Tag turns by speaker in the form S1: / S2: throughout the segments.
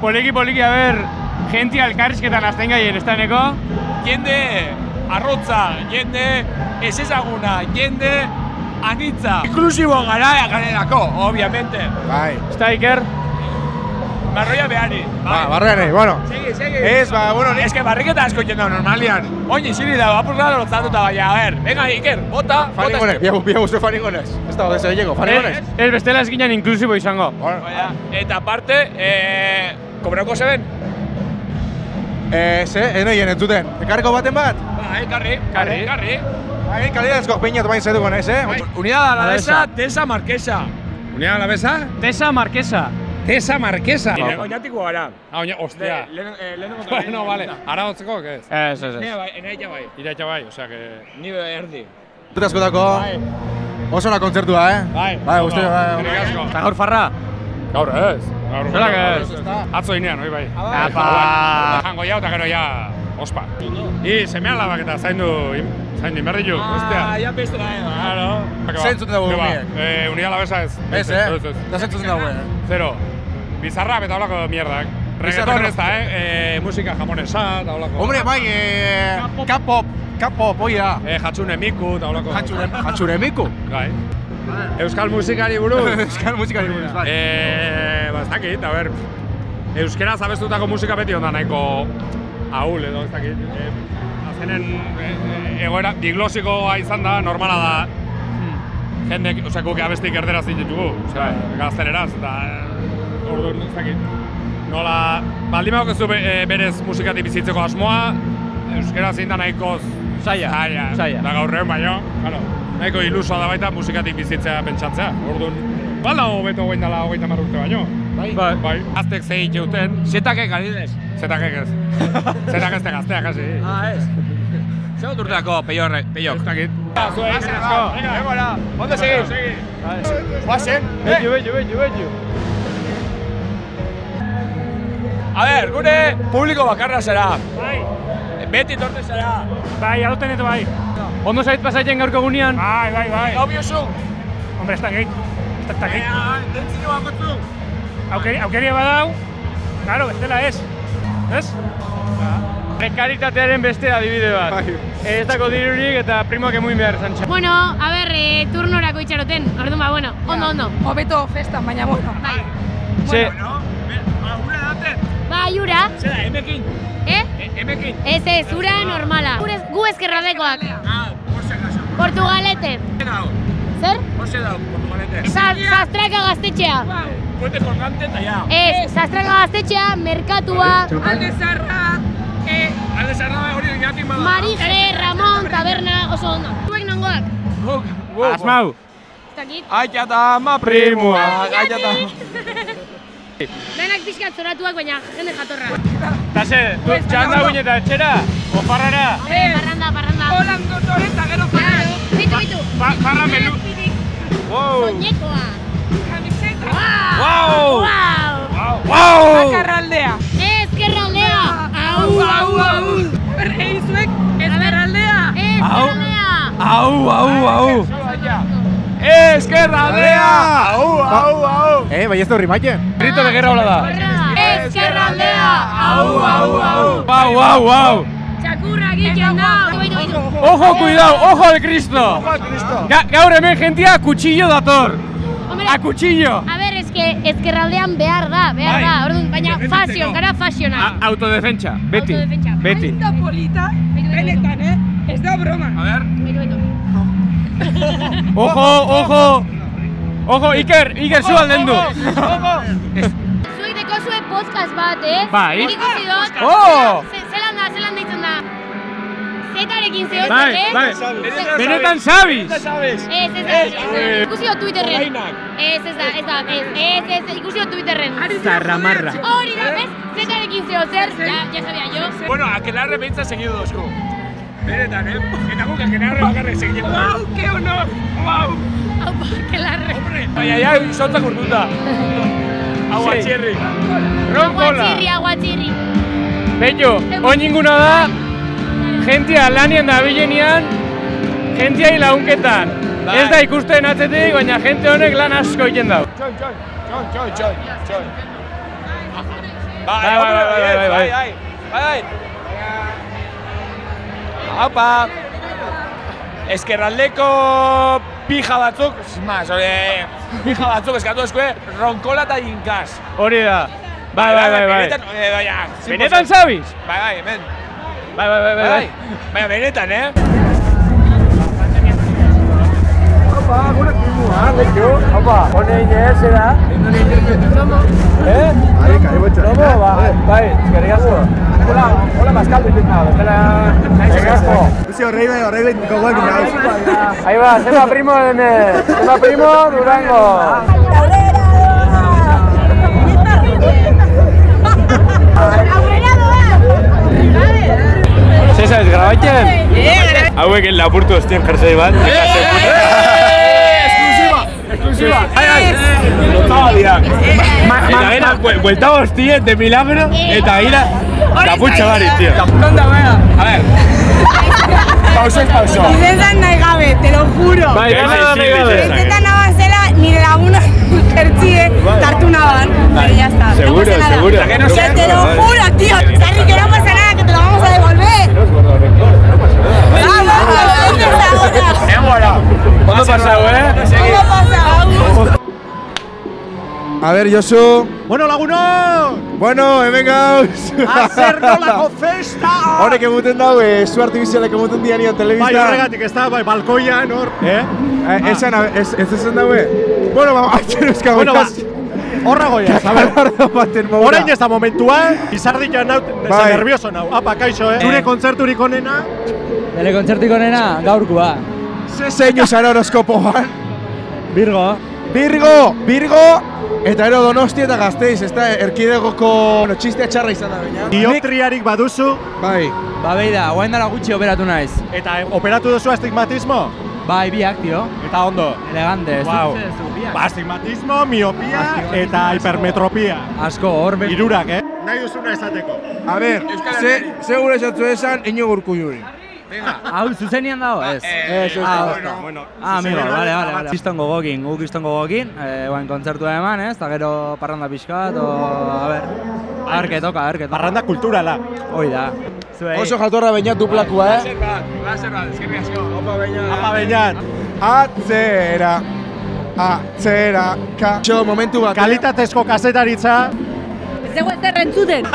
S1: poliki poliki aber jentia elkarrizketan azten gaien, ez taneko?
S2: Jende arrotza, jende ez ezaguna, jende anitza.
S1: Inklusibo
S2: Gara garelako, obviamente.
S3: Bai.
S1: Ez da, Iker?
S2: Barroia behari.
S3: Ba, barrean, eh, bueno.
S2: Segi, segi.
S3: Ez, ba, bueno,
S2: Ez
S3: nik
S2: que barriketa asko jendau normalian. Oin izili dago, apur gara lotzatuta baina, a ver, venga, Iker, bota, bota. Eh?
S3: faringonez,
S2: eske-
S3: biagu, biagu zu faringonez. Ez da, ez da, llego, faringonez.
S1: Ez, ez bestela ez ginen inklusibo izango.
S3: Bueno,
S2: Baina, Eta aparte, eh, kobrauko zeben?
S3: eh, ze, enoien entzuten. Ekarriko baten bat?
S2: Ba, ekarri,
S1: Karri.
S2: karri, karri.
S3: Bai, kalidazko peinat bain zaituko naiz, eh?
S2: Bai. Unidad
S1: Alavesa.
S2: Alavesa, Tesa Marquesa.
S4: Unea la besa,
S1: Tesa Marquesa.
S4: tesa markesa.
S2: Oinatiko gara. eh,
S4: Ah, oina, ostia.
S2: Lehen
S4: Bueno, vale. Ara hotzeko, ez?
S1: Ez, ez, ez.
S2: Enaia bai.
S4: Iraitxa bai, osea, que...
S2: Ni erdi.
S3: Dut askotako
S2: Bai.
S3: oso ona kontzertua, eh?
S4: Bai.
S3: Bai, guzti, bai.
S4: Eskerrik asko.
S1: Eta gaur farra?
S4: Gaur ez. Gaur
S1: Nola que ez?
S4: Atzo inean, hoi bai.
S3: bai.
S4: Apa. Jango jau eta gero ja, ospa. I, semea labak eta zaindu, zaindu inberri ju,
S2: Ah,
S4: ostia.
S2: ja pestu da, eh.
S4: Claro.
S3: Zentzuten dago umiek.
S4: Eh, unia labesa ez.
S3: Ez, eh?
S4: Ez, ez.
S3: Da zentzuten dago, eh?
S4: Zero. Bizarra eta holako mierdak.
S3: Bizarra-
S4: Reggaeton ez da, eh? eh? Musika jamonesa eta holako.
S3: Hombre, bai, eh... K-pop, K-pop, hoi da.
S4: Eh, Hatsune Miku eta holako.
S3: Hatxure, hatxure miku.
S4: Bai. Euskal musikari buruz.
S3: Euskal musikari buruz, bai.
S4: Eh, ba, ez dakit, a ber, euskeraz abestutako musika beti onda nahiko ahul edo, ez dakit. Eh, azkenen eh, egoera diglosikoa izan da, normala da, jendek, osea, guk abestik erderaz ditugu, osea, gazteleraz, eta eh, orduan, ez dakit. Nola, baldin badauk ez berez musikatik bizitzeko asmoa, euskeraz egin da nahiko z-
S1: Zaila,
S4: zaila,
S1: zaila.
S4: da gaurrean Ba, baino, claro, nahiko ilusoa da baita musikatik bizitzea pentsatzea, orduan, bala hobeto guen dela hogeita hamar urte baino.
S1: Bai.
S4: Bai, aztek zei jeuten,
S2: Zetak ekarri
S4: zetakek ez. Zetak ez gazteak, hasi.
S2: Ah, ez. Zer dut urteako peiorre, peiok.
S4: Ez dakit.
S2: Zuei,
S4: Ah, Venga,
S2: Ondo segi.
S3: Guazen,
S2: Eh.
S1: Bello, bello, bello, bello.
S2: A ber, gure publiko bakarra zara.
S4: Bai.
S2: Beti torte zara.
S5: Bai, adoten ditu bai.
S1: Ondo zait pasaiten gaurko gunean?
S2: Ah.
S5: Bai, bai, bai.
S2: Gau biozu.
S5: Hombre, ez dakit. Ez dakit.
S2: Entzio bakotzu.
S5: Aukeri, aukeria badau, claro, bestela ez. Ez?
S1: Prekaritatearen beste adibide bat.
S2: Bai.
S1: Ez dako dirurik eta primoak emuin behar zantxe.
S6: Bueno, a ber, eh, turnorako itxaroten, orduan ba, bueno, ondo, ondo.
S7: Hobeto festan, baina bueno.
S6: Bai,
S1: Ze,
S6: bai, ura,
S2: Zera, emekin.
S6: eh?
S2: E- Emekin.
S6: Ez ez, ura normala. Gure, gu ezkerraldekoak,
S2: Ah, borse gaso.
S6: Portugalete.
S2: Borse dago.
S6: Zer?
S2: Borse dago, portugalete. Ba.
S6: Sa, sastraka gaztetxea.
S2: Ah, Puente colgante eta ja.
S6: Ez, sastraka gaztetxea, merkatua,
S7: Alde zarra, eh,
S2: Alde zarra hori inatik bada.
S6: Marije, Ramon, taberna, oso ondo. Zuek nongoak?
S2: Guk, guk.
S1: asmau.
S6: Ez dakit.
S2: Aia da ama
S1: Primua.
S2: Aia da.
S6: eh. Denak pixkat zoratuak, baina jende jatorra.
S1: Eta ze, du txanda guin eta etxera, ofarrara.
S6: Eh, Parranda, parranda.
S7: holan gotoren eta gero
S6: Claro,
S7: paran.
S6: bitu, bitu.
S1: Farra melu.
S6: Azpirik,
S1: Wow.
S6: Soñekoa.
S7: Kamiseta,
S1: Wow.
S6: Wow.
S1: Wow.
S7: bakarraldea.
S6: Ezkerraldea. Au, au, au.
S7: Berrei zuek, ezkerraldea.
S6: Ezkerraldea.
S1: Au, au, au.
S3: Aldea! Au, au, au! Eh, bai ez
S8: este
S3: da horri maiten.
S1: Grito de guerra hola da.
S6: Horra. Ezkerraldea.
S3: Au, au, au!
S1: Wow, wow, wow.
S6: Txakurra egiten da. Baitu, baitu.
S1: Ojo, cuidado, ojo de Cristo. Ga gaur hemen jentia kutsillo dator.
S6: Hombre,
S1: A kutsillo.
S6: a ber, eske, ezkerraldean behar da, behar
S1: Bai. Ah.
S6: da. Orduan, baina fasion, gara
S1: A
S6: fasionak.
S1: autodefentsa, beti.
S6: Autodefentsa.
S1: Beti.
S7: Eta polita, benetan, eh? Ez da broma.
S6: Baitu, baitu.
S1: Ojo, ojo. Ojo, Iker, Iker zu aldendu.
S6: Zuek deko zuen podcast bat, eh?
S1: Bai.
S6: Nik ikusi dut.
S1: Oh!
S6: Ze- Zelan da, zelan deitzen da. Zetarekin zeo,
S1: Bai,
S6: eh?
S1: bai. Benetan sabiz.
S6: Ez, ez, da, ez, da.
S1: Eh,
S6: Ikusi dut Twitterren. Ez, ez da, ez da, ez, eh, ez, ez, ikusi dut Twitterren.
S1: Zarramarra.
S6: Hori da, bez, zetarekin zeo zer, ja, ja sabia jo.
S2: Bueno, aquelarre behitza segidu dozku. Beretan, eh? Eta guk aquelarre bakarrik segidu.
S7: Wow, que honor! Wow!
S6: Aupa, kelarre.
S2: Baina ja, sotzak urtuta. Hau
S1: Sí.
S2: atxerri.
S1: Ronkola.
S6: Aguatxirri, aguatxirri.
S1: Bello, oin inguna da, jentia lanien da bilenean, jentiai launketan. Ez da ikusten atzetik, baina jente honek lan asko egiten dau.
S2: Txon, txon, txon, txon, txon.
S9: Bai,
S1: Bai, bai, bai, bai,
S9: bai,
S1: bai,
S9: bai,
S1: bai.
S9: bai, bai. Haupa. Eskerraldeko pija batzuk, sin más, hori, pija batzuk eskatu eskue, ronkola eta jinkaz.
S1: Hori da. Bai, bai, bai, bai.
S9: Benetan, eh, baina, sin
S1: Benetan
S9: posa-
S1: zabiz?
S9: Bai, bai, hemen.
S1: Bai, bai, bai, bai.
S9: Bai,
S1: bai.
S9: bai. Baina, benetan, eh?
S3: Lucio horreibe, horreibe, gogoak nahi.
S1: Ahí va, Seba Primo en el... Seba Primo, Durango. César, Ah, grabatzen?
S4: Hauek lapurtu ostien jersei bat.
S3: Eh,
S4: Eh,
S1: Exclusiva.
S4: Ai, ai, lotzaba diak.
S8: Eh,
S4: Eta gera, bue- buelta hostien de milagro,
S2: Eh.
S4: eta gira, kaputxa bari,
S8: bai,
S4: tío.
S9: A ver,
S4: Pausa, pausa.
S7: Intentan nahi gabe, te lo juro.
S1: Bai,
S4: Bai,
S1: gana da
S4: sí,
S1: pegada.
S4: sí,
S7: Intentan naban zela nire laguna kertzie eh? tartu naban. Pero ya está.
S4: Seguro,
S7: no pasa nada.
S4: seguro.
S7: Que no se- te lo juro, tío. Sarri, que no pasa nada, que te lo vamos a devolver. Vamos, ¿dónde está ahora?
S1: Ondo pasau, eh?
S7: ¿Cómo pasa?
S3: A ver, Josu.
S8: Bueno, lagunon!
S3: Bueno, eh, hemen gauz.
S8: Azer nolako festa!
S3: Horrek emuten dau, eh, zu artibizialak emuten dianion
S8: Bai,
S3: telebista.
S8: horregatik ez da, bai, balkoian, hor. Eh?
S3: Eh, esan, a- ez ez esan daue. Bueno, ba, atxero eska
S8: Bueno, ba,
S3: bukas.
S8: horra goiaz, a ver.
S3: Alardo baten modura.
S8: Orain ez da momentua, izarditan naut, bai.
S3: Bai.
S8: nervioso nau. Apa, kaixo, eh? Zure kontzerturik onena,
S10: Bere kontzertiko nena gaurkoa.
S3: Ze zeinu zara horoskopoan?
S10: Birgo.
S3: Birgo, Birgo, eta ero donosti eta gazteiz, ez da, erkidegoko no, txistea txarra izan da, baina.
S8: dioptriarik baduzu,
S3: Bai.
S10: Ba behi da, guain dara gutxi operatu naiz.
S8: eta eh, operatu duzu astigmatismo?
S10: Bai, biak, tio.
S8: Eta ondo.
S10: Elegante, ez
S8: Guau.
S10: dut zezu, biak.
S8: Ba, astigmatismo, miopia eta hipermetropia.
S10: Ba, Asko, hor be...
S8: Hirurak, eh? Nahi duzuna esateko.
S3: A ber, ze, ze gure esatzu esan, ino gurku juri.
S10: Hau, zuzenian dago, ez?
S3: Ez, ez,
S10: ah,
S3: bueno,
S8: bueno.
S10: Ah, amigo,
S8: Zuzenian
S10: vale,
S8: dago,
S10: vale, vale. Kiston gogokin, gu kiston gogokin, eh, guain kontzertua eman, ez? Eta gero parranda pixka, o... A ber, a ber, que toka, a ber, que toka.
S8: Barranda kulturala.
S10: Hoi da. Zuei.
S3: Bai. Oso jatorra baina duplakua, eh?
S8: Apa, beinat.
S3: Atzera, atzera, ka... Txo, momentu bat. eh?
S8: Kalitatezko kazetaritza,
S6: Ez dugu ezer entzuten.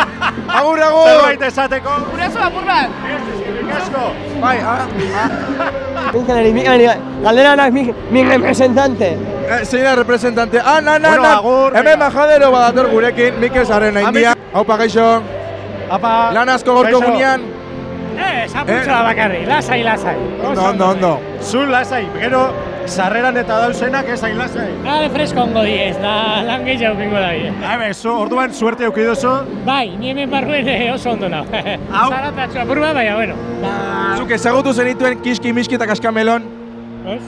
S3: Agur, agur!
S8: zerbait esateko.
S11: Guraso apur bat.
S8: Eskerrik asko.
S3: Bai, ah, ah.
S10: Galderanak mi, mi representante.
S3: Eh, zein da representante. Ah, na, na,
S8: Bueno,
S3: na.
S8: agur, venga.
S3: Hemen majadero badator gurekin, Mikel Zaren haindia. Haupa, gaixo.
S8: Apa.
S3: Lan asko gorko
S8: Kaixo.
S3: gunean.
S12: Eh, esa putxala bakarri, lasai, lasai.
S3: Ondo, ondo, ondo.
S8: Zu lasai, gero sarreran eta dauzenak ez hain lasai.
S12: Nada de fresco ongo diez, da lan gehiago bingo da bie.
S8: Habe, zu orduan suerte euki duzu.
S12: Bai, ni hemen barruen eh, oso ondo nao.
S8: Au.
S12: Zara eta txapurba, baina, bueno.
S3: Zuk ezagutu zenituen kiski, miski eta kaskamelon.
S12: Ez,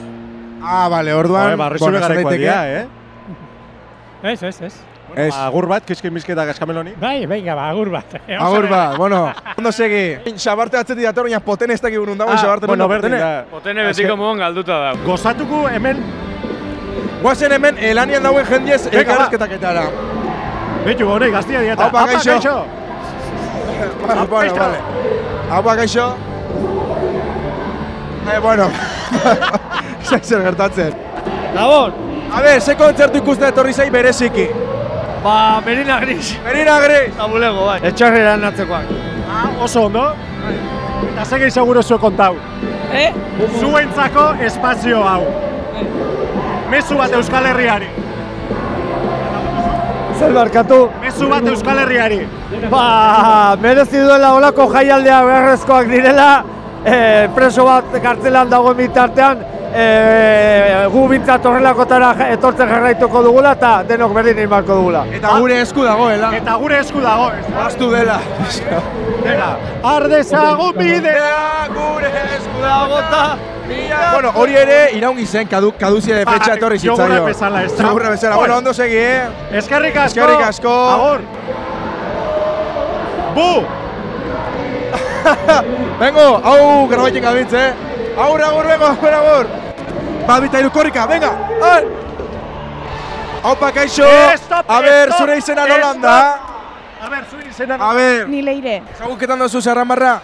S3: Ah, bale, orduan.
S8: Oe, barri zure
S3: esan
S8: garaikoa
S3: daiteke.
S8: dira, eh?
S12: ez, ez, ez.
S3: Ez.
S8: Agur bat, kiskin misketa gaskameloni.
S12: Bai, venga, ba, agur bat.
S3: Agur ba, bueno. Ondo segi. Xabarte atzetik dator, baina poten ez dakik unun dago, xabarte
S8: Ah, bueno,
S3: nuen
S8: berdin
S3: potene.
S8: da.
S1: Otene betiko moduan galduta da.
S8: Gozatuko hemen,
S3: Guazen hemen, elanian dauen jendiez,
S8: ba.
S3: elkarrezketaketara.
S8: betu hori, gaztia dieta.
S3: Aupa, kaixo. Vale, ba, bueno,
S8: Apesta.
S3: vale. Haupa, gaixo. Eh, bueno. Zer zer gertatzen.
S10: Gabon!
S3: A ber, ze kontzertu ikusten etorri zai bereziki.
S10: Ba, Merina Gris.
S3: Merina Gris!
S10: Tabulego, bai. Etxarrera natzekoak.
S8: Ah, oso ondo. Eta ze gehi seguro zuen kontau.
S11: Eh?
S8: Zuentzako espazio hau. Mezu bat Euskal Herriari.
S10: Zer barkatu?
S8: Mezu bat Euskal Herriari.
S10: Ba, merezi duela olako jaialdea beharrezkoak direla, e, preso bat kartzelan dago bitartean, e, gu bintzat horrelakotara ja- etortzen jarraituko dugula eta denok berdin egin beharko dugula.
S3: Eta gure esku dagoela.
S8: Eta gure esku dago. ez da?
S3: Bastu Ah. dela.
S8: Dena. Ardezago bidea.
S3: gure esku dago ta. Bueno, hori ere iraungi zen, kadu, kaduzia de fetxa
S8: Bai,
S3: etorri zitzaio.
S8: jogurra bezala, ez da?
S3: Jogurra bezala.
S8: Bueno.
S3: Bueno, ondo segi, eh?
S8: Eskerrik asko.
S3: Eskerrik asko.
S8: Agur. Bu.
S3: Bengo, hau grabaiten gabiltz, eh? Agur, agur, bengo, agur, agur. Babita irukorrika, venga, ar! Haupa, kaixo!
S8: Stop,
S3: A ber,
S8: stop,
S3: zure izena
S8: stop.
S3: nolan da?
S8: A ber, zuen izena.
S3: A ber.
S7: Ni leire.
S3: Zaguketan dozu zarramarra?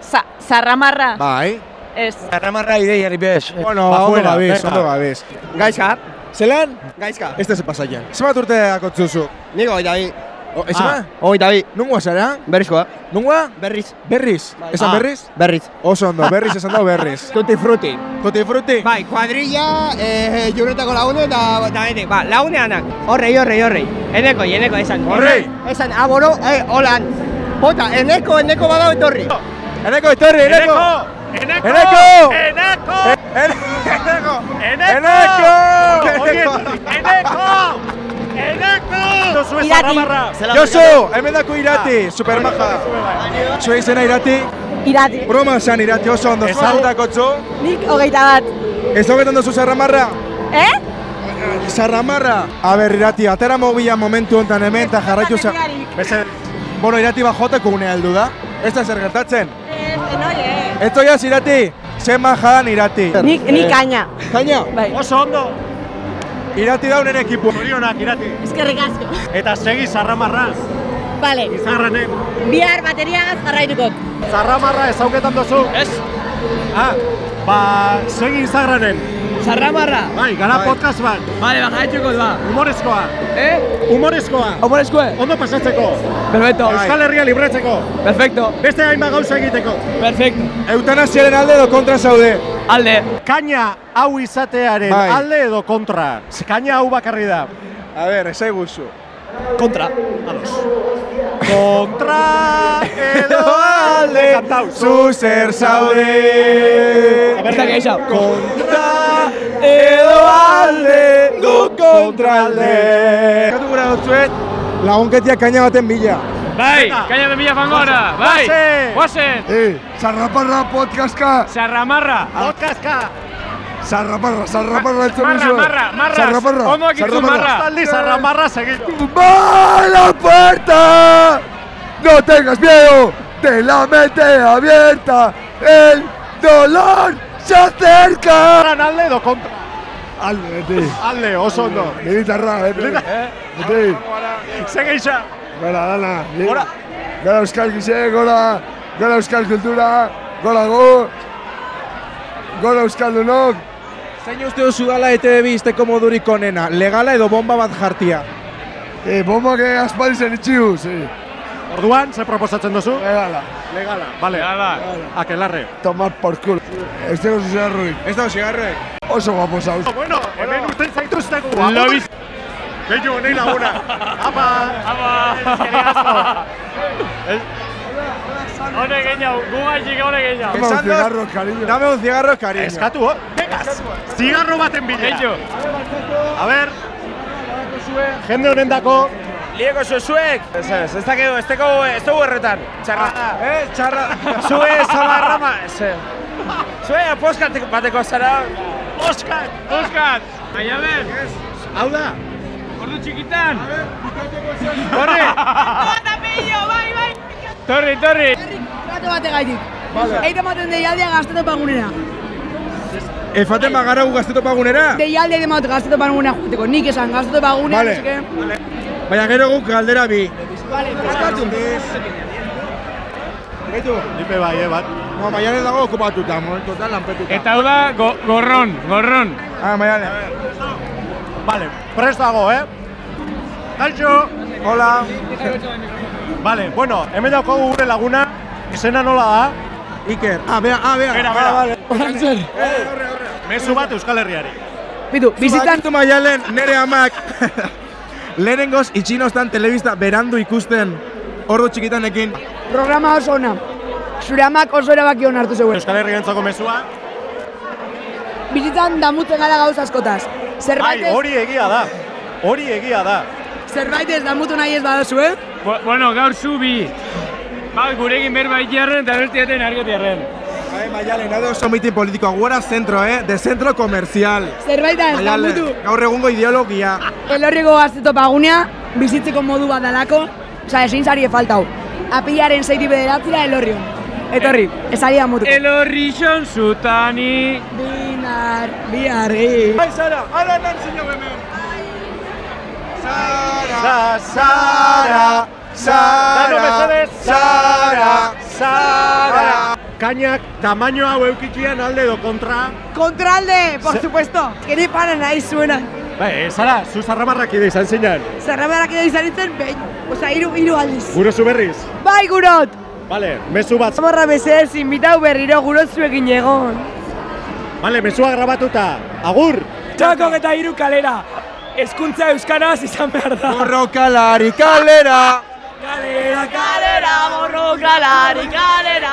S7: Za, zarramarra.
S3: Bai.
S7: Ez.
S10: Zarramarra ideiari bez.
S3: Bueno,
S10: Ba,
S3: ondo
S10: fuera,
S3: gabiz,
S10: venga.
S3: ondo gabiz.
S10: Gaizka.
S3: Zelan? Este
S10: Gaizka.
S3: Ez da pasaian. Zemat urte akotzuzu?
S10: Niko oita bi.
S3: Ez da?
S10: Oita bi.
S3: Nungoa zara?
S10: Berrizkoa.
S3: Nungoa?
S10: Berriz.
S3: Berriz? Esan
S10: Ah,
S3: berriz?
S10: Berriz.
S3: Oso ondo, berriz esan da berriz.
S10: Tutti frutti.
S3: Tutti frutti?
S10: Bai, kuadrilla, eh, junetako lagundu eta da bete. Ba, laguneanak. Horrei, horrei, horrei. Eneko, eneko esan.
S3: Horrei.
S10: Esan, aboro, eh, holan. Jota, eneko, eneko badao etorri.
S3: Eneko, etorri, eneko!
S10: Eneko!
S3: Eneko!
S10: Eneko!
S3: Eh, Eneko!
S10: Eneko!
S8: Eneko! Eneko!
S3: Josu, hemen dako irati, supermaja. Zue izena irati?
S7: Irati.
S3: Broma esan irati oso ondo.
S7: Ez
S3: Zua
S7: hau-
S3: dakotzu?
S7: Nik hogeita bat.
S3: Ez hogetan dozu zarramarra?
S7: Eh?
S3: Zarramarra! A ber, irati, atera mobila momentu hontan hemen eta jarraitu za... Beze... Bueno, irati bajoteko unea heldu da. Ez da zer gertatzen. Esto ya, irati, zen majadan irati.
S7: Nik- nik kaina.
S3: Kaina?
S7: Bai.
S8: Oso ondo.
S3: Irati daunen ekipu.
S8: Zorionak, irati.
S7: Eskerrik asko.
S8: Eta segi zarramarra.
S7: Vale.
S8: Zarranek.
S7: Bihar bateriagaz jarraituko.
S8: Zarramarra ezauketan dozu? Ez. Ah, ba, segi izarranen.
S10: Zarramarra?
S8: Bai, gara
S10: Bai.
S8: podcast bat.
S10: Bale, ba, jarraituko da.
S8: Humorezkoa. Eh? Humorezkoa.
S10: Humorezkoa.
S8: Ondo pasatzeko.
S1: Bai.
S10: Perfecto.
S8: Euskal Herria libretzeko.
S10: Perfecto.
S8: Beste hainbat gauza egiteko.
S10: Perfecto.
S3: Eutanasiaren alde edo kontra zaude?
S10: Alde.
S8: Kaina hau izatearen
S3: Bai.
S8: alde edo kontra. Ze Kaina hau bakarri da.
S3: A ber, esai guzu.
S8: Kontra. Ados. Kontra edo alde. Kantau.
S3: Zu zer zaude? Kontra edo alde, gu kontra alde. Katu gura dutzuet, lagunketia kaina baten bila.
S1: Bai, kaina de mila fangora, bai, guazen!
S13: Eh, zarraparra podcastka.
S1: Zarramarra.
S8: Podcastka.
S13: Zarraparra, zarraparra entzun
S1: Marra,
S13: duzue.
S1: marra, marra.
S13: Zarraparra.
S1: Ondo dakitzu, marra. Zaldi,
S8: zarramarra segitu.
S13: ¡Va la puerta! ¡No tengas miedo! ¡Te la mente abierta! ¡El dolor se acerca!
S8: Zerran alde edo kontra.
S13: Alde, beti.
S8: Alde, oso ondo.
S13: Militarra, beti.
S8: Eh?
S13: Beti.
S8: Segeixa.
S13: Gora dana. Gora. Gora euskal gize, gora, gora euskal kultura, gora gu, gora euskaldunok.
S3: Zein uste duzu dala
S13: E
S3: ETV izteko modurik onena, legala edo bomba bat jartia?
S13: Eh, bombak eh, aspaldi zen itxiu, sí.
S8: Orduan, ze proposatzen duzu?
S13: Legala.
S8: Legala. Vale. Legala. Akelarre.
S13: Tomar por culo. Ez dago zigarroik.
S3: Ez dago zigarroik.
S13: Oso guapo zauz.
S8: Bueno, hemen usten zaituztegu.
S13: Lo
S8: Lobiz. Bello, nahi laguna. Apa. Apa.
S14: Hone gehiago, gugaitxik hone gehiago.
S3: Esan dut- Dame un cigarro, cariño.
S8: Eskatu, oh, pegaz. Zigarro baten bila.
S15: Bello.
S8: A ber. Jende honen dako.
S15: Lieko zuzuek? Ez ez, ez dakigu, ez dakigu, ez dugu erretan. Txarra.
S3: eh, txarra.
S15: Zue, zamarrama, ez. eh. Zue, aposkat bateko zara.
S8: Oskat!
S1: Oskat! Baina ben!
S8: Hau da!
S1: Ordu txikitan! Torri!
S7: bai, bai.
S1: Torri, torri!
S7: Bate bate gaitik.
S3: Vale.
S7: Eite maten deialdia gazteto pagunera.
S3: Efaten bagara gu gazteto pagunera?
S7: Deialdia eite maten gazteto pagunera juteko. Nik esan gazteto pagunera.
S3: Vale. Baina gero guk galdera bi.
S7: Vale,
S8: Ipe bai, eh, bat.
S3: No, maialen dago okupatuta, momentuetan lanpetuta.
S1: Eta hau da, go, gorron, gorron.
S3: Ah, maialen.
S8: Vale, prest dago, eh? Kaixo!
S3: Hola!
S8: Vale, bueno, hemen daukagu gure laguna, izena nola da?
S3: Iker. Ah, bea, ah, bea.
S8: Bera,
S3: Ah,
S8: bera.
S3: vale.
S8: Horantzer. Mezu bat Euskal Herriari.
S7: Bitu,
S3: bizitan. Zu maialen, nere amak. Lehenengoz, itxinostan telebista berandu ikusten. Ordu txikitanekin.
S7: Programa oso ona. Zure amak oso erabaki hon hartu zegoen.
S8: Euskal Herrientzako mezua.
S7: Bizitzan damutzen gara gauz askotaz.
S8: Bai,
S7: Zerbait ez,
S8: hori egia da. Hori egia da.
S7: zerbait ez damutu nahi ez badazu, eh?
S1: Bu- Bueno, gaur zu bi. Ba, gurekin berbait jarren eta bestiaten argetiarren.
S3: Abe, maialen, hau da oso mitin politikoa. Guera zentro, eh? De centro comercial.
S7: Zerbait da ez
S3: Maialen,
S7: damutu.
S3: Gaur egungo ideologia.
S7: Elorriko gazteto pagunea, bizitzeko modu bat dalako, oza, ezin zari faltau. Apilaren zeiri bederatzira elorrion. Etorri, ez ari damutuko.
S1: Elorri xon zutani.
S7: Binar, biarri.
S3: Bai, Sara, ala nan zinu hemen. Sara,
S8: Sara, Dano mesedez.
S16: Sara,
S8: Sara. Kainak tamaino hau eukitxian alde edo kontra.
S17: Contralde, por supuesto. Que ni paran ahí suena.
S8: Bai, Sara, zu zarramarrak ide izan zinen.
S17: Zerramarak edo izan nintzen, behin. Osa, iru, iru aldiz.
S8: Gure zu berriz.
S17: Bai, gurot!
S8: Bale, mezu bat.
S17: Zamarra mesedez, inbitau berriro gurot zuekin egon.
S8: Bale, mezua grabatuta. Agur!
S6: Txako eta hiru kalera. Hezkuntza euskaraz izan behar da.
S16: Borrokalari kalera.
S6: Kalera, kalera, borrokalari kalera.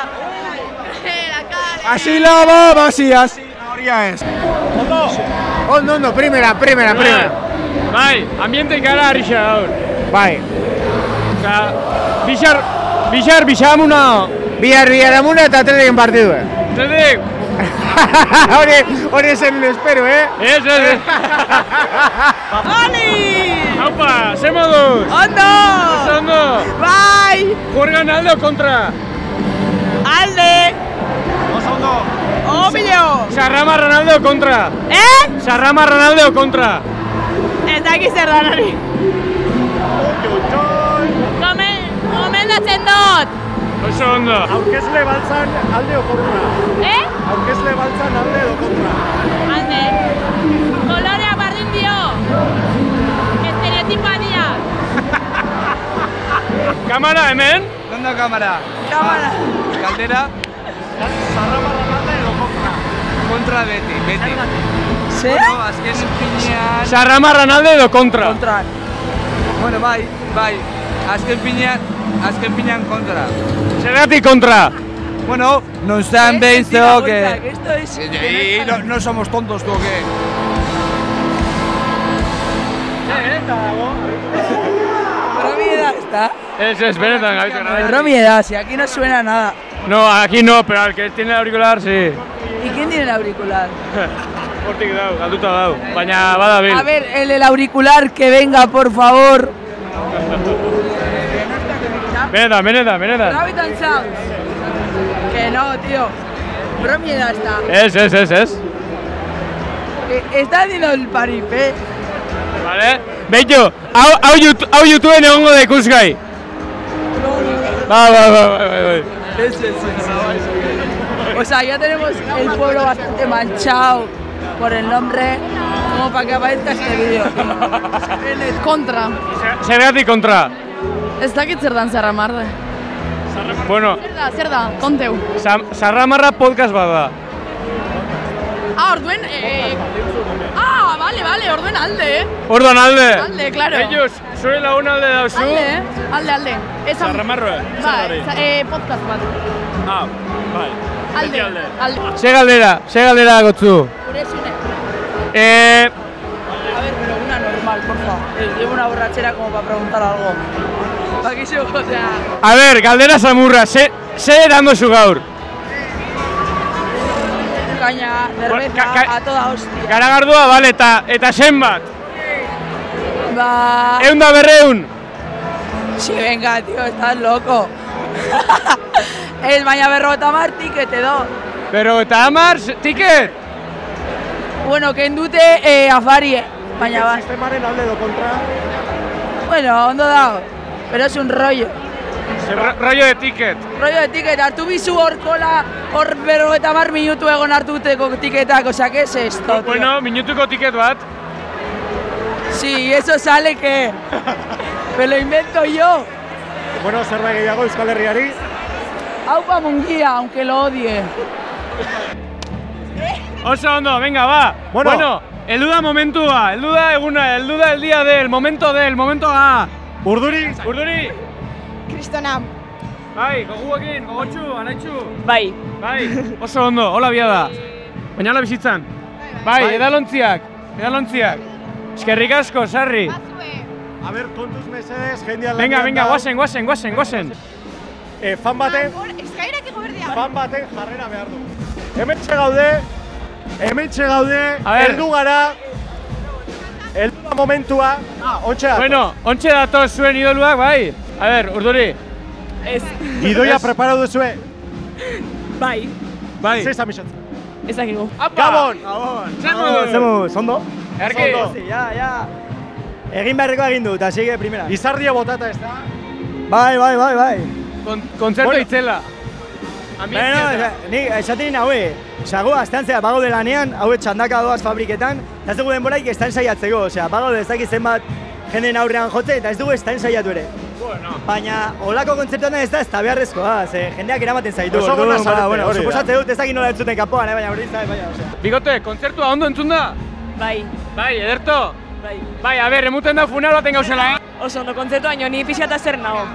S16: Así la baba, así, así. Horia ez.
S1: Ondo!
S18: Ondo, ondo, primera, primera, primera.
S1: Bai, ambiente gara arixa gaur.
S18: Bai.
S1: Osa, bixar, bixar, bixamuna.
S18: Bihar, bihar amuna eta atletik partidu, eh?
S1: Zetik,
S18: hori, hori esen espero, eh?
S1: Ez, ez, ez.
S6: Oli!
S1: Haupa, ze moduz?
S6: Ondo!
S1: Ez ondo!
S6: Bai!
S1: Juergan alde o kontra?
S6: Alde!
S1: Oso ondo!
S17: Oh,
S6: Obvio!
S1: Sarrama Ronaldo kontra.
S6: Eh?
S1: Sarrama Ronaldo kontra.
S6: Ez dakit zer dan hori. Gomen, gomendatzen dut!
S1: Oso ondo.
S8: Aurkezle baltzan alde o kontra.
S6: Eh?
S8: Aurkezle baltzan alde edo kontra.
S6: Alde. Kolorea bardin dio. Estereotipa dia.
S1: Kamara hemen?
S3: Ondo kamara. Kamara. Galdera. Kontra beti, beti.
S1: Zer?
S3: Bueno, azken finean...
S1: Sarrama Ronaldo edo kontra.
S3: Kontra. Bueno, bai, bai. Azken finean, azken finean kontra.
S1: Zergatik kontra.
S3: Bueno, non
S19: Eh,
S3: zean
S7: este
S3: behin zeo, que...
S7: Esto es...
S3: Y no, no somos tontos, tú, que...
S7: Romiedad está.
S1: Ez, ez, benetan gabitzen gara.
S7: Romiedad, si aquí no suena nada.
S1: No, aquí no, pero al que tiene el auricular, sí.
S7: ¿Y quién tiene el auricular?
S1: Hortik dau, galduta dau. Baina badabil.
S7: A ver, el, el auricular que venga, por favor.
S1: Benetan, benetan, benetan.
S7: Habitan Sounds. Que no, tío. Romiedad está.
S1: Ez, ez, ez, ez.
S7: Eh, Está haciendo el paripé.
S1: Vale? Beitu, hau, hau, YouTube, hau YouTubeen egongo da ikusgai. Ba, ba, ba, ba, ba, ba.
S7: Es, es, es. O sea, ya tenemos el pueblo bastante manchado por el nombre, como para que aparezca este vídeo.
S4: Kontra.
S1: Zergatik kontra.
S4: Ez dakit zer dan zerra marde.
S1: Bueno,
S4: Zer da, zer da, konteu.
S1: Sam- Sarramarra podcast bada.
S4: Ah, orduen, eh... Ah, vale, vale, orduen alde, eh.
S1: Orduan alde.
S4: Alde, claro.
S1: Ellos, zure lagun alde dauzu.
S4: Alde, eh. Alde, alde. Esan-
S1: Zarramarroa, zer
S4: Bai,
S1: hori?
S4: za- eh, podcast bat.
S1: Ah, bai.
S4: Alde, alde.
S1: Ze galdera, ze galdera gotzu.
S7: Gure zure.
S1: Eh,
S7: A ver, pero una normal, porfa. Eh, Llevo una borrachera como para preguntar algo. Para que se, o sea,
S1: a ber, galdera zamurra, ze, ze erango zu gaur?
S7: caña, cerveza, a toda hostia.
S1: Garagardua, bale, eta, eta zenbat?
S7: Ba...
S1: Egun da berreun.
S7: Sí, venga, tío, estás loco. El baina berrota marti, que te do.
S1: Pero eta amar, ze- tiket?
S7: Bueno, kendute eh, afari, eh, baina ba.
S8: Sistemaren alde edo kontra.
S7: Bueno, ondo dago, pero es un rollo.
S1: Ro- Rollo de tiket.
S7: Rollo de ticket, hartu bizu hor kola, hor bero eta mar minutu egon hartuteko tiketak, osea, que es esto, tío?
S1: Bueno, minutuko tiket bat.
S7: Sí, eso sale que... Me lo invento yo.
S8: Bueno, zerbait gehiago Euskal Herriari.
S7: Aupa mungia, aunque lo odie.
S1: Oso ondo, venga, va.
S8: Bueno.
S1: heldu da momentua, heldu da eguna, heldu da el día del, momento del, momento A.
S8: Urduri.
S1: Urduri.
S20: Kristona.
S1: Bai, goguekin, gogotxu, anaitxu.
S20: Bai.
S1: Bai, oso ondo, hola bia da. Baina hola bizitzan. Bai,
S8: Bai.
S1: edalontziak, edalontziak. Eskerrik asko, sarri.
S8: A ber, kontuz mesedez, jendean
S1: Venga,
S8: lanean
S1: venga,
S8: dago.
S1: guazen, guazen, guazen, guazen.
S8: Eh, fan baten,
S20: Eskairak igo berdia.
S8: fan baten jarrera behar du. Hemen gaude, hemen gaude,
S1: A ber.
S8: heldu gara, heldu da momentua. Ah, ontxe dator.
S1: Bueno, ontxe dator zuen idoluak, bai. A ver, urduri.
S20: Ez.
S8: Gidoia preparau duzue.
S20: Bai.
S1: Bai.
S8: Zer izan bisatzen.
S20: Ez dakigu.
S7: Ah.
S8: Gabon!
S20: Zemuz!
S10: Zemuz, ondo?
S1: Erki.
S10: Ondo. Ja, ja. Egin beharreko egin dut, así que primera.
S8: Izardia botata ez da?
S10: Bai, bai, bai, bai.
S1: Kon, kontzertu
S10: Bueno.
S1: itzela.
S10: Baina,
S1: Ambientia.
S10: esa- ni eh, esaten haue, sago astantzea bagaude lanean, haue txandaka doaz fabriketan, eta ez dugu denboraik estan saiatzeko, osea, bagaude ez dakit zenbat jenden aurrean jotze, eta ez dugu estan saiatu ere. Baina, olako kontzertuetan ez da, ez da beharrezkoa, ah, ze jendeak eramaten zaitu.
S1: Oso
S10: orduan,
S1: gona
S10: ba,
S1: zarete,
S10: bueno,
S1: hori da.
S10: suposatze dut ez dakit nola entzuten kapoan, eh, baina hori zait, baina, osea.
S1: Bigote, kontzertua ondo entzun da?
S21: Bai.
S1: Bai, ederto?
S21: Bai.
S1: Bai, a ber, emuten da funal baten gauzela, eh?
S21: Oso ondo kontzertu baino, ni pixka eta zer nago.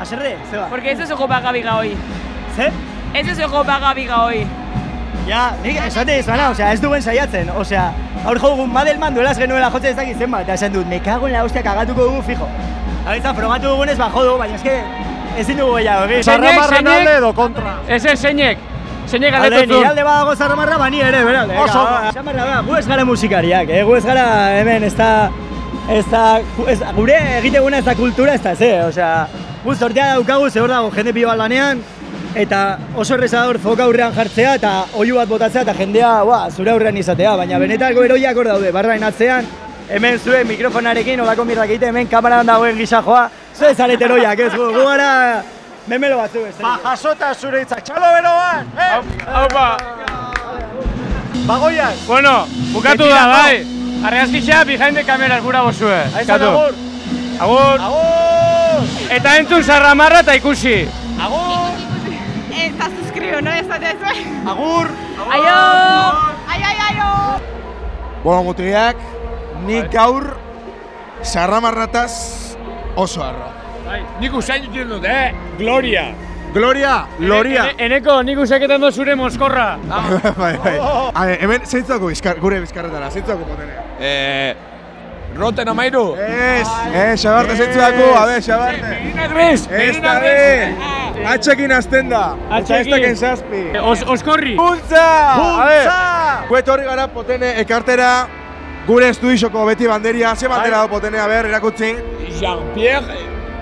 S10: Aserre, zeba.
S21: Porque ez ez ego bagabiga hoi.
S10: ba? Ze?
S21: Ez ez ego
S19: ba
S21: bagabiga hoi.
S10: Ja, nik esaten izana, osea, ez duen saiatzen, osea, aur jogun Madelman duelaz genuela jotze ez dakit zenbat, eta esan dut, me cago en la hostia kagatuko dugu fijo. Abizan, frogatu dugunez bajo dugu, baina eske ezin dugu gehiago egin.
S1: Zarramarraren alde edo kontra? Ez ez, zeinek. Zeinek
S10: Alde,
S1: galdetu
S10: nire alde badago zarramarra, bani ere, beralde.
S1: Oso
S10: Oso.
S1: ondo.
S10: Zarramarra da, ba, gu ez gara musikariak, eh? gu ez gara hemen, ez da, ez da, gu- ez, gure egiteguna ez da kultura, ez da, ze, osea, gu sortea daukagu, ze hor dago, jende pilo bat lanean, eta oso erreza da hor foka aurrean jartzea, eta oihu bat botatzea, eta jendea, ba, zure aurrean izatea, baina benetako eroiak hor daude, barrain atzean, hemen zuen mikrofonarekin, olako mirrak egiten, hemen kameran dagoen gisa joa, zuen zarete eroiak, ez gu, gu gara, memelo batzu, ez da. Ba, jasota zure itzak, txalo beroan, eh?
S1: Haupa.
S10: Bagoian.
S1: Bueno, bukatu
S10: Betira,
S1: da,
S10: Pau.
S1: bai. Arreazkixa, behind the camera gura bozue.
S10: Aizan,
S1: Katu.
S10: agur.
S1: Agur. Eta entzun zarramarra eta ikusi.
S10: Agur!
S19: Eta suscribo, no? Ez da
S10: Agur!
S19: Aio! Aio, aio, aio!
S3: Bueno, mutiak, nik gaur sarramarrataz oso arro.
S1: Bai,
S2: Nik usain dut dut, eh? Gloria.
S3: Gloria, loria.
S1: Ene- Eneko, nik usaketan do zure moskorra.
S3: bai, bai. A ver, hemen zeintzako bizkar, gure bizkarretara, zeintzako botenea.
S2: Eh, Roten amairu.
S3: Ez. Eh, xabarte zeintzako, a ver, xabarte.
S2: Medina Gris, Medina
S3: Gris. Atxekin azten da. Eta ez
S1: Atxekin.
S3: daken zazpi.
S1: Eh, os- oskorri.
S3: Puntza! A ver. Gu etorri gara potene ekartera gure estudiosoko beti banderia. Ze bandera
S2: Bai.
S3: da potene, a ber, erakutsi.
S2: Jean-Pierre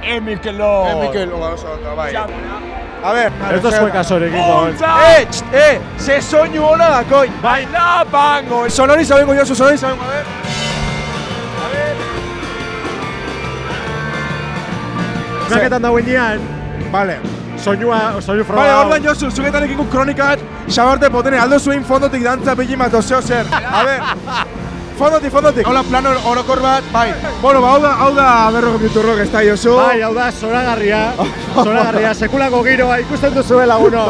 S2: Emikelor.
S3: Emikelor, oso ondo, bai. A ber,
S10: Ez da zuek azorekin dagoen.
S3: Eh, txt, eh, ze soinu hona dakoin. Baila bango. Sonoriza bengo jozu, sonoriza bengo, a ver.
S10: Zueketan dagoen dian,
S3: Vale.
S10: soinua, soinu ¿eh? froga.
S3: Vale, orduan jozu, zuketan ekiko kronika bat, xabarte potene, aldo zuen fondotik dantza pegi mato zeo zer. A ver, fondotik, fondotik. Hola, plano orokor bat, bai. Bueno, ba, hau da, hau da berro kompiuturrok ez da jozu.
S10: Bai, hau da, zoragarria, zoragarria, sekulako giroa bai, ikusten duzue laguno.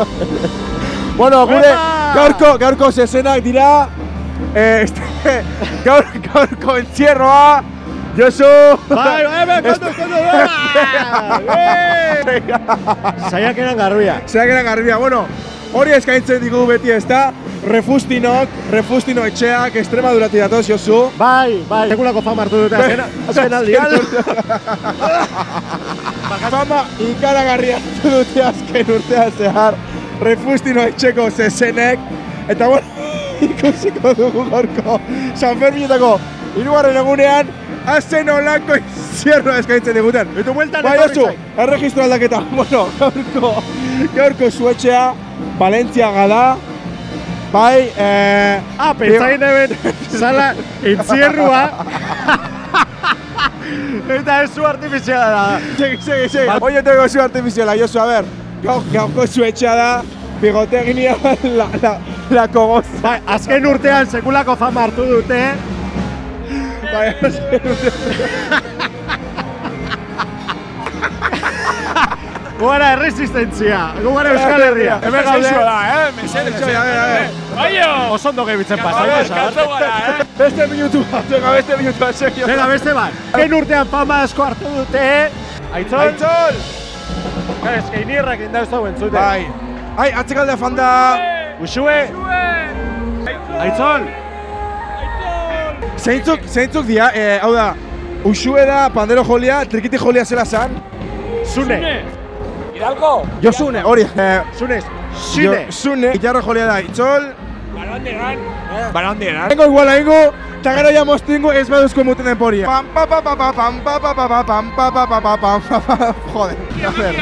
S3: Bueno, gure gaurko, gaurko zezenak dira, eh, este, gaur, gaurko entierroa, Josu!
S10: Bai, bai, bai, kontuz,
S3: Este-
S10: kontuz, bai!
S3: Saiak eran garbia. Saiak eran garbia, bueno, hori eskaintzen digu beti ez da, refustinok, refustino etxeak, estremadurati datoz, Josu.
S10: Bai, bai, sekulako fama hartu dute azken, azken aldian.
S3: Fama ikaragarria hartu dute azken urtean zehar, refustino etxeko zezenek, eta bueno, ikusiko dugu gorko, San Ferminetako, irugarren egunean, Azen olako izierroa eskaintzen diguten. Eta bueltan bai,
S10: etorri
S3: Josu, erregistro aldaketa. Bueno, gaurko, gaurko zuetxea, Valentzia gada, bai, eh...
S10: Ah, pentsain hemen, zala, entzierrua. Eta ez zu artifiziala da.
S3: Segi, segi, segi. Oie tengo zu artifiziala, Josu, a ber. Gau, gauko zuetxea da, bigotegnia la, la, la kogoz.
S10: Bai, azken urtean sekulako fama hartu dute.
S3: Bai, azken urtean.
S10: Guara erresistentzia, guara Euskal Herria.
S2: Hemen gaudela da, eh? Mesedes.
S3: Gaixoa, a ver, a ver.
S2: Baio!
S10: Oso ondo gehibitzen
S2: A
S10: pasa,
S2: ver,
S10: Josa.
S3: Beste minutu bat, venga, beste minutu bat, segio.
S10: Venga, beste bat. Azken urtean fama asko hartu dute. eh? Aitzol.
S3: Aitzol.
S10: Claro, es que inirrak indauzta entzuten.
S3: Bai. Ai, atzekaldea fanda.
S10: Usue. Aitzol.
S3: Zeintzuk, zeintzuk dia, eh, hau da, usue da, pandero jolia, trikiti jolia zela zan.
S10: Zune.
S2: Hidalgo.
S3: Josune, hori. Eh,
S10: Zunez.
S2: Zune.
S3: Jo- Zune. Gitarra jolia da, itzol.
S2: Barón de Gran. Barón de Gran.
S3: Eh. Tengo igual ingo, eta gero ja moztingo ez baduzko muten denporia. Pam, pa, pa, pa, pa, pam, pa, pa, pa, pa, pam, pa, pa, pa, pa, pam, pa, pa, joder. A ver,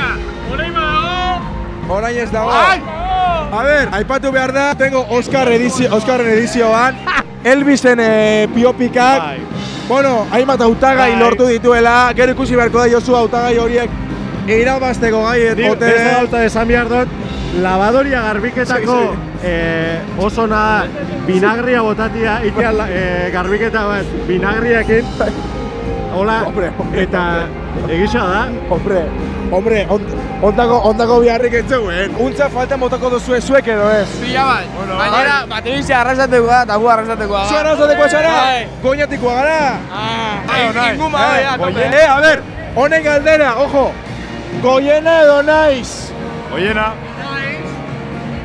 S1: Horain badago.
S3: orain ez dago. A ver, aipatu behar da, tengo Oscar edizio, Oscarren edizioan, Elvisen eh, piopikak, bueno, hainbat hautagai lortu dituela, gero ikusi beharko da Josu hautagai horiek irabazteko gai
S8: Nik
S3: ote
S8: beste gauza esan behar dut, labadoria garbiketako eh, oso na binagria botatia, itea la- eh, garbiketa bat binagriakin, hola, eta egisa da.
S3: Hombre, hombre, on- ondako, ondako biharrik entzeuen. Untza falta motako duzu zuek edo ez.
S22: Pila bat,
S3: Gainera,
S22: gainera, batibizia arrasatekoa eta gu arrasatekoa.
S3: Zu arrasatekoa zara? Goñatikoa gara?
S22: Ah, ingun
S3: Eh, goie- Eh, a ber, honen galdera, ojo. Goiena edo naiz?
S4: Goiena.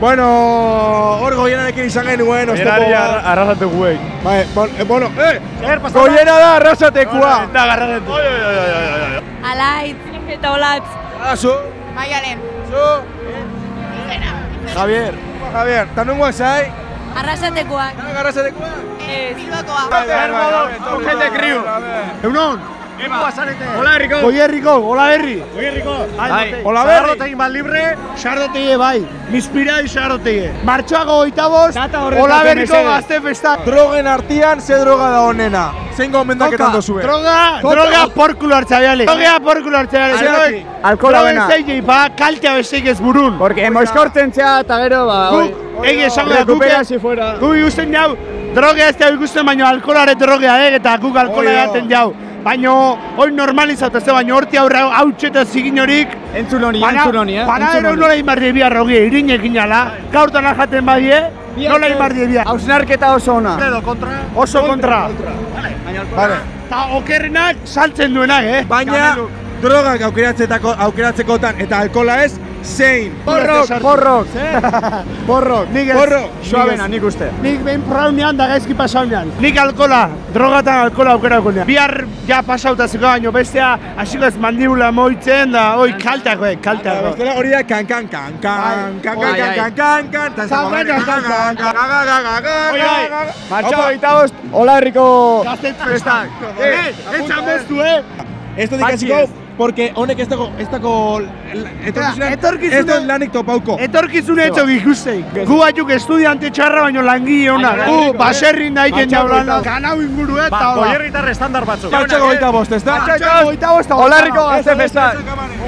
S3: Bueno, hor goienarekin izan genuen, oztopo
S8: Berari
S3: bat.
S8: arra- arrasatu guei.
S3: Bai, bon, eh, bueno, eh!
S8: Zer pasatu?
S3: Goiena da arrasatekua!
S8: Da garratetu. Oi, oi, oi, oi, oi, oi.
S19: Alaitz. Eta olatz.
S3: Azu,
S19: Maialen.
S3: Javier. Ah, Javier, eta nungo esai?
S19: Arrasatekoak.
S3: Arrasatekoak?
S19: Ez. Bilbakoa.
S8: Gente kriu. Eunon. Epa, zarete.
S3: Hola, herriko.
S8: Goierriko, hola herri.
S3: Goierriko.
S8: Hola berri. Sarrotegin bat libre, sarrotegie bai. Mispira y sarrotegie. Martxoago goita bost, hola berriko gazte festa.
S3: Drogen artean, ze droga da onena? Zein gomendaketan
S8: Coca,
S3: dozue?
S8: Droga,
S3: Coca.
S8: droga porkulo hartzabiale. Droga porkulo hartzabiale.
S3: Alkohol- alkohola bena.
S8: Droga zei ba, kaltea besteik ez burun. Porque
S10: Moizkortzen zea eta gero, ba,
S8: Guk,
S3: bai.
S8: egi esango da, guk, e-
S10: Recupera si fuera.
S8: guk ikusten jau, droga ez da ikusten baino alkolare drogea dek, eh, eta guk
S10: Oio.
S8: alkola edaten jau. Baino, hoi normalizatu ez da, baino horti aurra hautxe eta zigin horik.
S10: Entzun hori,
S8: Bana-
S10: entzun hori, eh? Entzun
S8: Panadero
S10: hori.
S8: nola inbarri biar hogi, irinekin ala, gaurtan jaten badie, nola inbarri biar.
S10: Hausnarketa oso ona.
S8: kontra? Oso kontra.
S3: Vale.
S8: Eta okerrenak saltzen duenak, eh?
S3: Baina,
S8: Kaneluk.
S3: drogak aukeratzetako, aukeratzekotan eta alkola ez, zein.
S8: Porrok, porrok. Porrok. Nik ez.
S3: Porrok.
S10: Suabena, nik uste.
S8: Nik behin praunean da gaizki pasaunean. Nik alkola, droga eta alkola aukerako nean. Bihar ja pasautaziko baino bestea, hasiko ez mandibula moitzen da, oi, kaltako, eh, kaltako.
S3: Bestela hori da kan kan kan kan kan kan
S8: Bai,
S3: kan
S8: bai.
S3: kan kan kan ta
S8: Kan, kan, kan, kan, kan, kan. Oi, bai.
S10: Martxoa goita bost, hola herriko...
S8: Gaztet festak.
S3: Eh,
S8: etxan bestu, eh!
S3: Esto
S8: Patxi
S3: dikasiko,
S8: ez.
S3: porque honek ez dago, ez dago etorkizunean,
S8: etorkizuna-
S3: ez dut lanik topauko.
S8: Etorkizune etxok ikusteik. Gu batzuk estudiante txarra baino langile ona.
S3: Baina
S8: Gu
S3: lanik,
S8: baserrin da egin
S3: Martxoa
S8: jaulana.
S3: goita bost.
S8: Ganau inguru eh, eta
S3: Ba,
S8: hola.
S3: goierritar
S8: estandar batzuk.
S3: Martxoa goita bost, ez da?
S8: Martxoa goita bost. eta
S10: Hola
S8: hogeita
S10: herriko
S1: Ah,
S8: lau.
S10: gazte festak.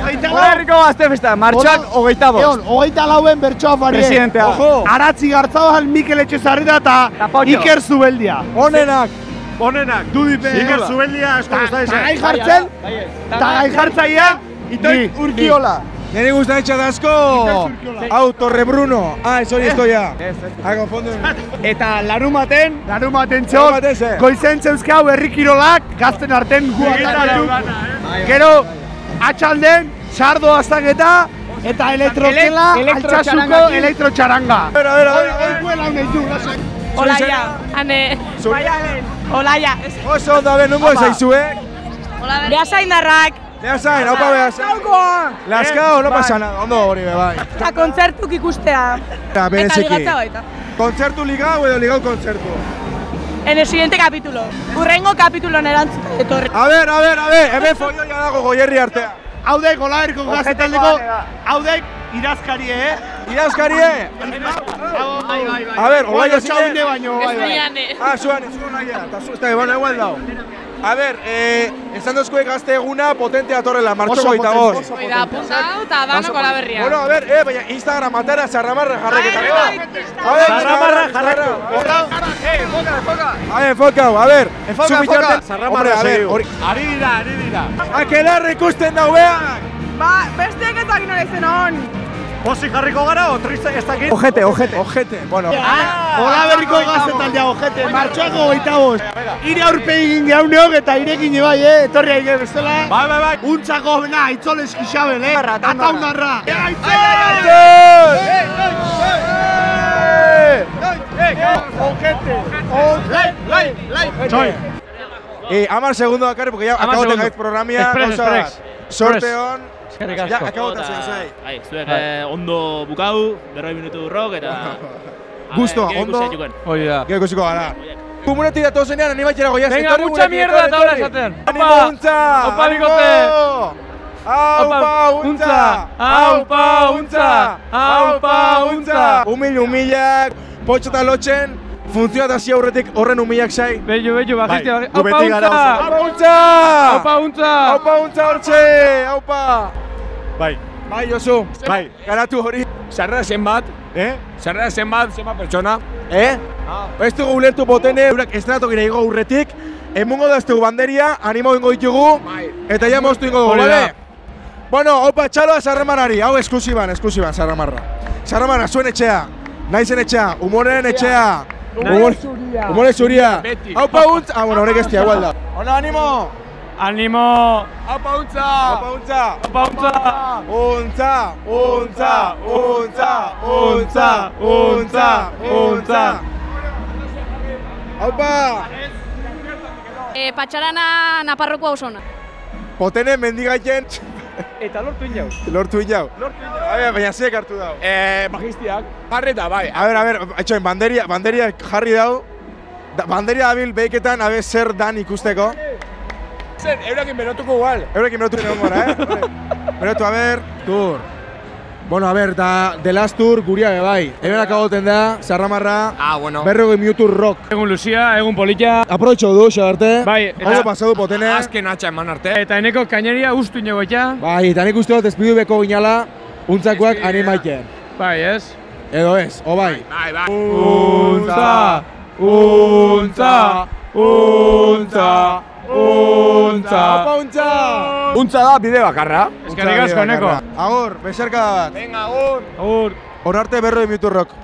S8: Hogeita
S10: Hola
S8: lau.
S10: herriko gazte festak, martxoak hogeita bost.
S8: Egon, hogeita lauen bertsoa farie.
S10: Presidentea.
S8: Ojo. Aratzi gartzabal, Mikel Etxezarreta eta
S10: Patxo.
S8: Iker Zubeldia.
S3: Onenak.
S8: Onenak. Dudipe.
S10: Iker
S8: Zubeldia asko eh.
S10: gustatu
S8: Eta
S10: zait.
S8: gai jartzen,
S10: Bai, ez.
S8: eta gai jartzaia,
S3: Ni,
S8: itoik
S3: ni.
S8: urkiola.
S3: Nere gusta hecha dasco. Autorre Bruno. Ah, eso ya estoy ya. Ah, confundo.
S8: Eta larumaten, larumaten
S3: Larumaten ze?
S8: txon, goizen zeuzkau herri kirolak, gazten arten guatatu. Gero, atxalden, sardo aztaketa, eta elektrokela, altxasuko
S21: elektrotxarangaki.
S8: elektrotxaranga.
S3: Bera, bera, bera.
S21: Olaia. Ane. Maialen. Olaia.
S3: Oso da ben nungo zaizue.
S21: Beasaindarrak.
S3: Beasain, haupa beasain. Laskao, no pasa nada. Ondo hori be bai.
S19: Eta kontzertuk ikustea.
S3: Eta
S19: Eta
S3: bereziki.
S19: ligatza baita.
S3: Kontzertu ligau edo ligau kontzertu.
S19: En el siguiente capítulo. Urrengo kapitulon erantzute etorri.
S3: A ver, a ver, a ver. Hemen foioia dago goierri artea.
S8: Haudek, olaerko gazetaldeko, haudek, irazkarie, eh?
S3: Irazkarie. A ver, olaia zine.
S8: baino, bai, bai.
S3: Ah, zuan, zuan olaia. Eta zu, eta ebana igual dao. A ver, eh, esan dozkoe gazte eguna potentea torrela, martxoko
S8: Oso
S3: eta
S8: potente.
S3: bost.
S21: Hoi da, apunta eta banoko alaberria.
S3: Bueno, a ver, eh, baina Instagram atera zarramarra jarraketa. A ver, Eh,
S8: Zarramarra
S3: A ver, enfocau, a ver.
S8: Enfoca,
S3: zu
S8: enfoca.
S3: bitartean-
S8: Zarramarra
S3: Hombre, a ver,
S8: segi.
S3: hori.
S8: Ari dira, ari dira.
S3: Akelarre ikusten dau, bea!
S19: Ba, besteek ez dakin hori zen hon.
S8: Pozik jarriko gara, o triste ez dakit?
S3: Ojete, ojete. Ojete, bueno.
S8: Hola berriko gazetaldea, ojete, martxoako goita bost. Ire aurpegin gauneok eta irekin bai, eh, etorri aige bestela. Bai, bai, bai. Untzako bena, aitzol eskixabel, eh, ataunarra. Eh, Aitzol! Ojete, ojete.
S3: Soy. Eh, amar segundo bakarri, porque ya
S8: Hamar
S3: acabo de
S8: segundo.
S3: caer programia.
S8: Express,
S3: gauza bat.
S8: express.
S3: Sorte on.
S23: Eskerrik
S3: Ja,
S23: asko.
S3: acabo de hacer,
S23: Bai, zuek eh, ondo bukau, berroi minutu urrok eta... A
S3: Gustoa,
S23: ber, gero
S3: ondo.
S23: ikusi daituken.
S3: Hoi da. Gero ikusiko gara. Komunati datu zenean, animatxera goiaz.
S1: Venga,
S3: etorri
S1: mucha
S3: gurekin,
S1: mierda
S3: etorri,
S1: eta hola
S3: etorri.
S1: esaten.
S3: Animo
S1: Opa.
S3: untza!
S1: Opa,
S3: animo!
S1: bigote.
S3: Aupa
S1: Opa,
S3: untza!
S1: Aupa, untza. Aupa, untza.
S3: Humil, humilak, potxo eta lotxen, funtzioa eta aurretik horren humilak sai.
S1: Bello, bello, bajiste,
S3: Bai,
S1: bajiste.
S3: gu beti gara oso. Aupa,
S1: Aupa,
S3: untza!
S1: untza.
S3: Aupa untza hortxe! Aupa!
S2: Bai.
S3: Bai, Josu.
S2: Bai.
S3: Garatu hori.
S2: Sarrera zenbat?
S3: Eh?
S2: Sarrera zenbat, zenbat pertsona?
S3: Eh? Ah. Ez dugu ulertu botene, eurak estrenatu gira igo urretik. Emungo da ez dugu banderia, animo ingo ditugu. Eta ja moztu ingo dugu,
S2: Hori da.
S3: bale? Bueno, opa txaloa sarramarari. Hau eskusiban, eskusiban, sarramarra. Sarramara, zuen etxea. Naizen etxea, humoreren etxea.
S8: Humore
S3: Humore-
S8: zuria.
S3: Humore zuria.
S8: Beti.
S3: Hau pauntz, ah, bueno, horrek ez dira, igual da. Hola, animo!
S5: Animo!
S3: Apa untza! Apa untza! Apa untza! Untza! Untza! Untza! Untza! Untza! Aupa!
S21: Eh, patxarana naparroko hausona.
S3: Potene mendigaien
S2: Eta lortu inau.
S3: lortu inau.
S2: Lortu inau.
S3: A ber, baina ziek hartu dau.
S2: Eh, magistiak. Barreta, bai.
S3: A ber, a ber, etxoin, banderia, banderia jarri dau. Da, banderia abil behiketan, a ber, zer dan ikusteko.
S2: Zer, eurekin berotuko igual.
S3: Eurekin berotu egon gora, eh? Berotu, a ber, tur. Bueno, a ber, da, The Last Tour guria be bai. Hemenak agoten da, zarramarra,
S2: Ah, bueno.
S3: berrogei minutu rock.
S1: Egun luzia, egun polita.
S3: Aprobetxo du, xabarte.
S1: Bai, eta-
S3: Ondo pasau du potene.
S2: Azken atxa eman arte.
S1: Eta eneko kaineria ustu nego ja.
S3: Bai, eta nik uste dut ezpidu beko ginala, untzakoak animaiken.
S1: Bai, ez?
S3: Edo ez, o bai.
S2: Bai, bai.
S3: Untza,
S2: untza,
S3: untza,
S2: untza. Untza da bide bakarra.
S3: Eskerrik asko, Neko. Agur, besarka bat.
S2: Venga, agur.
S1: Agur.
S3: Hor arte berroi miturrok.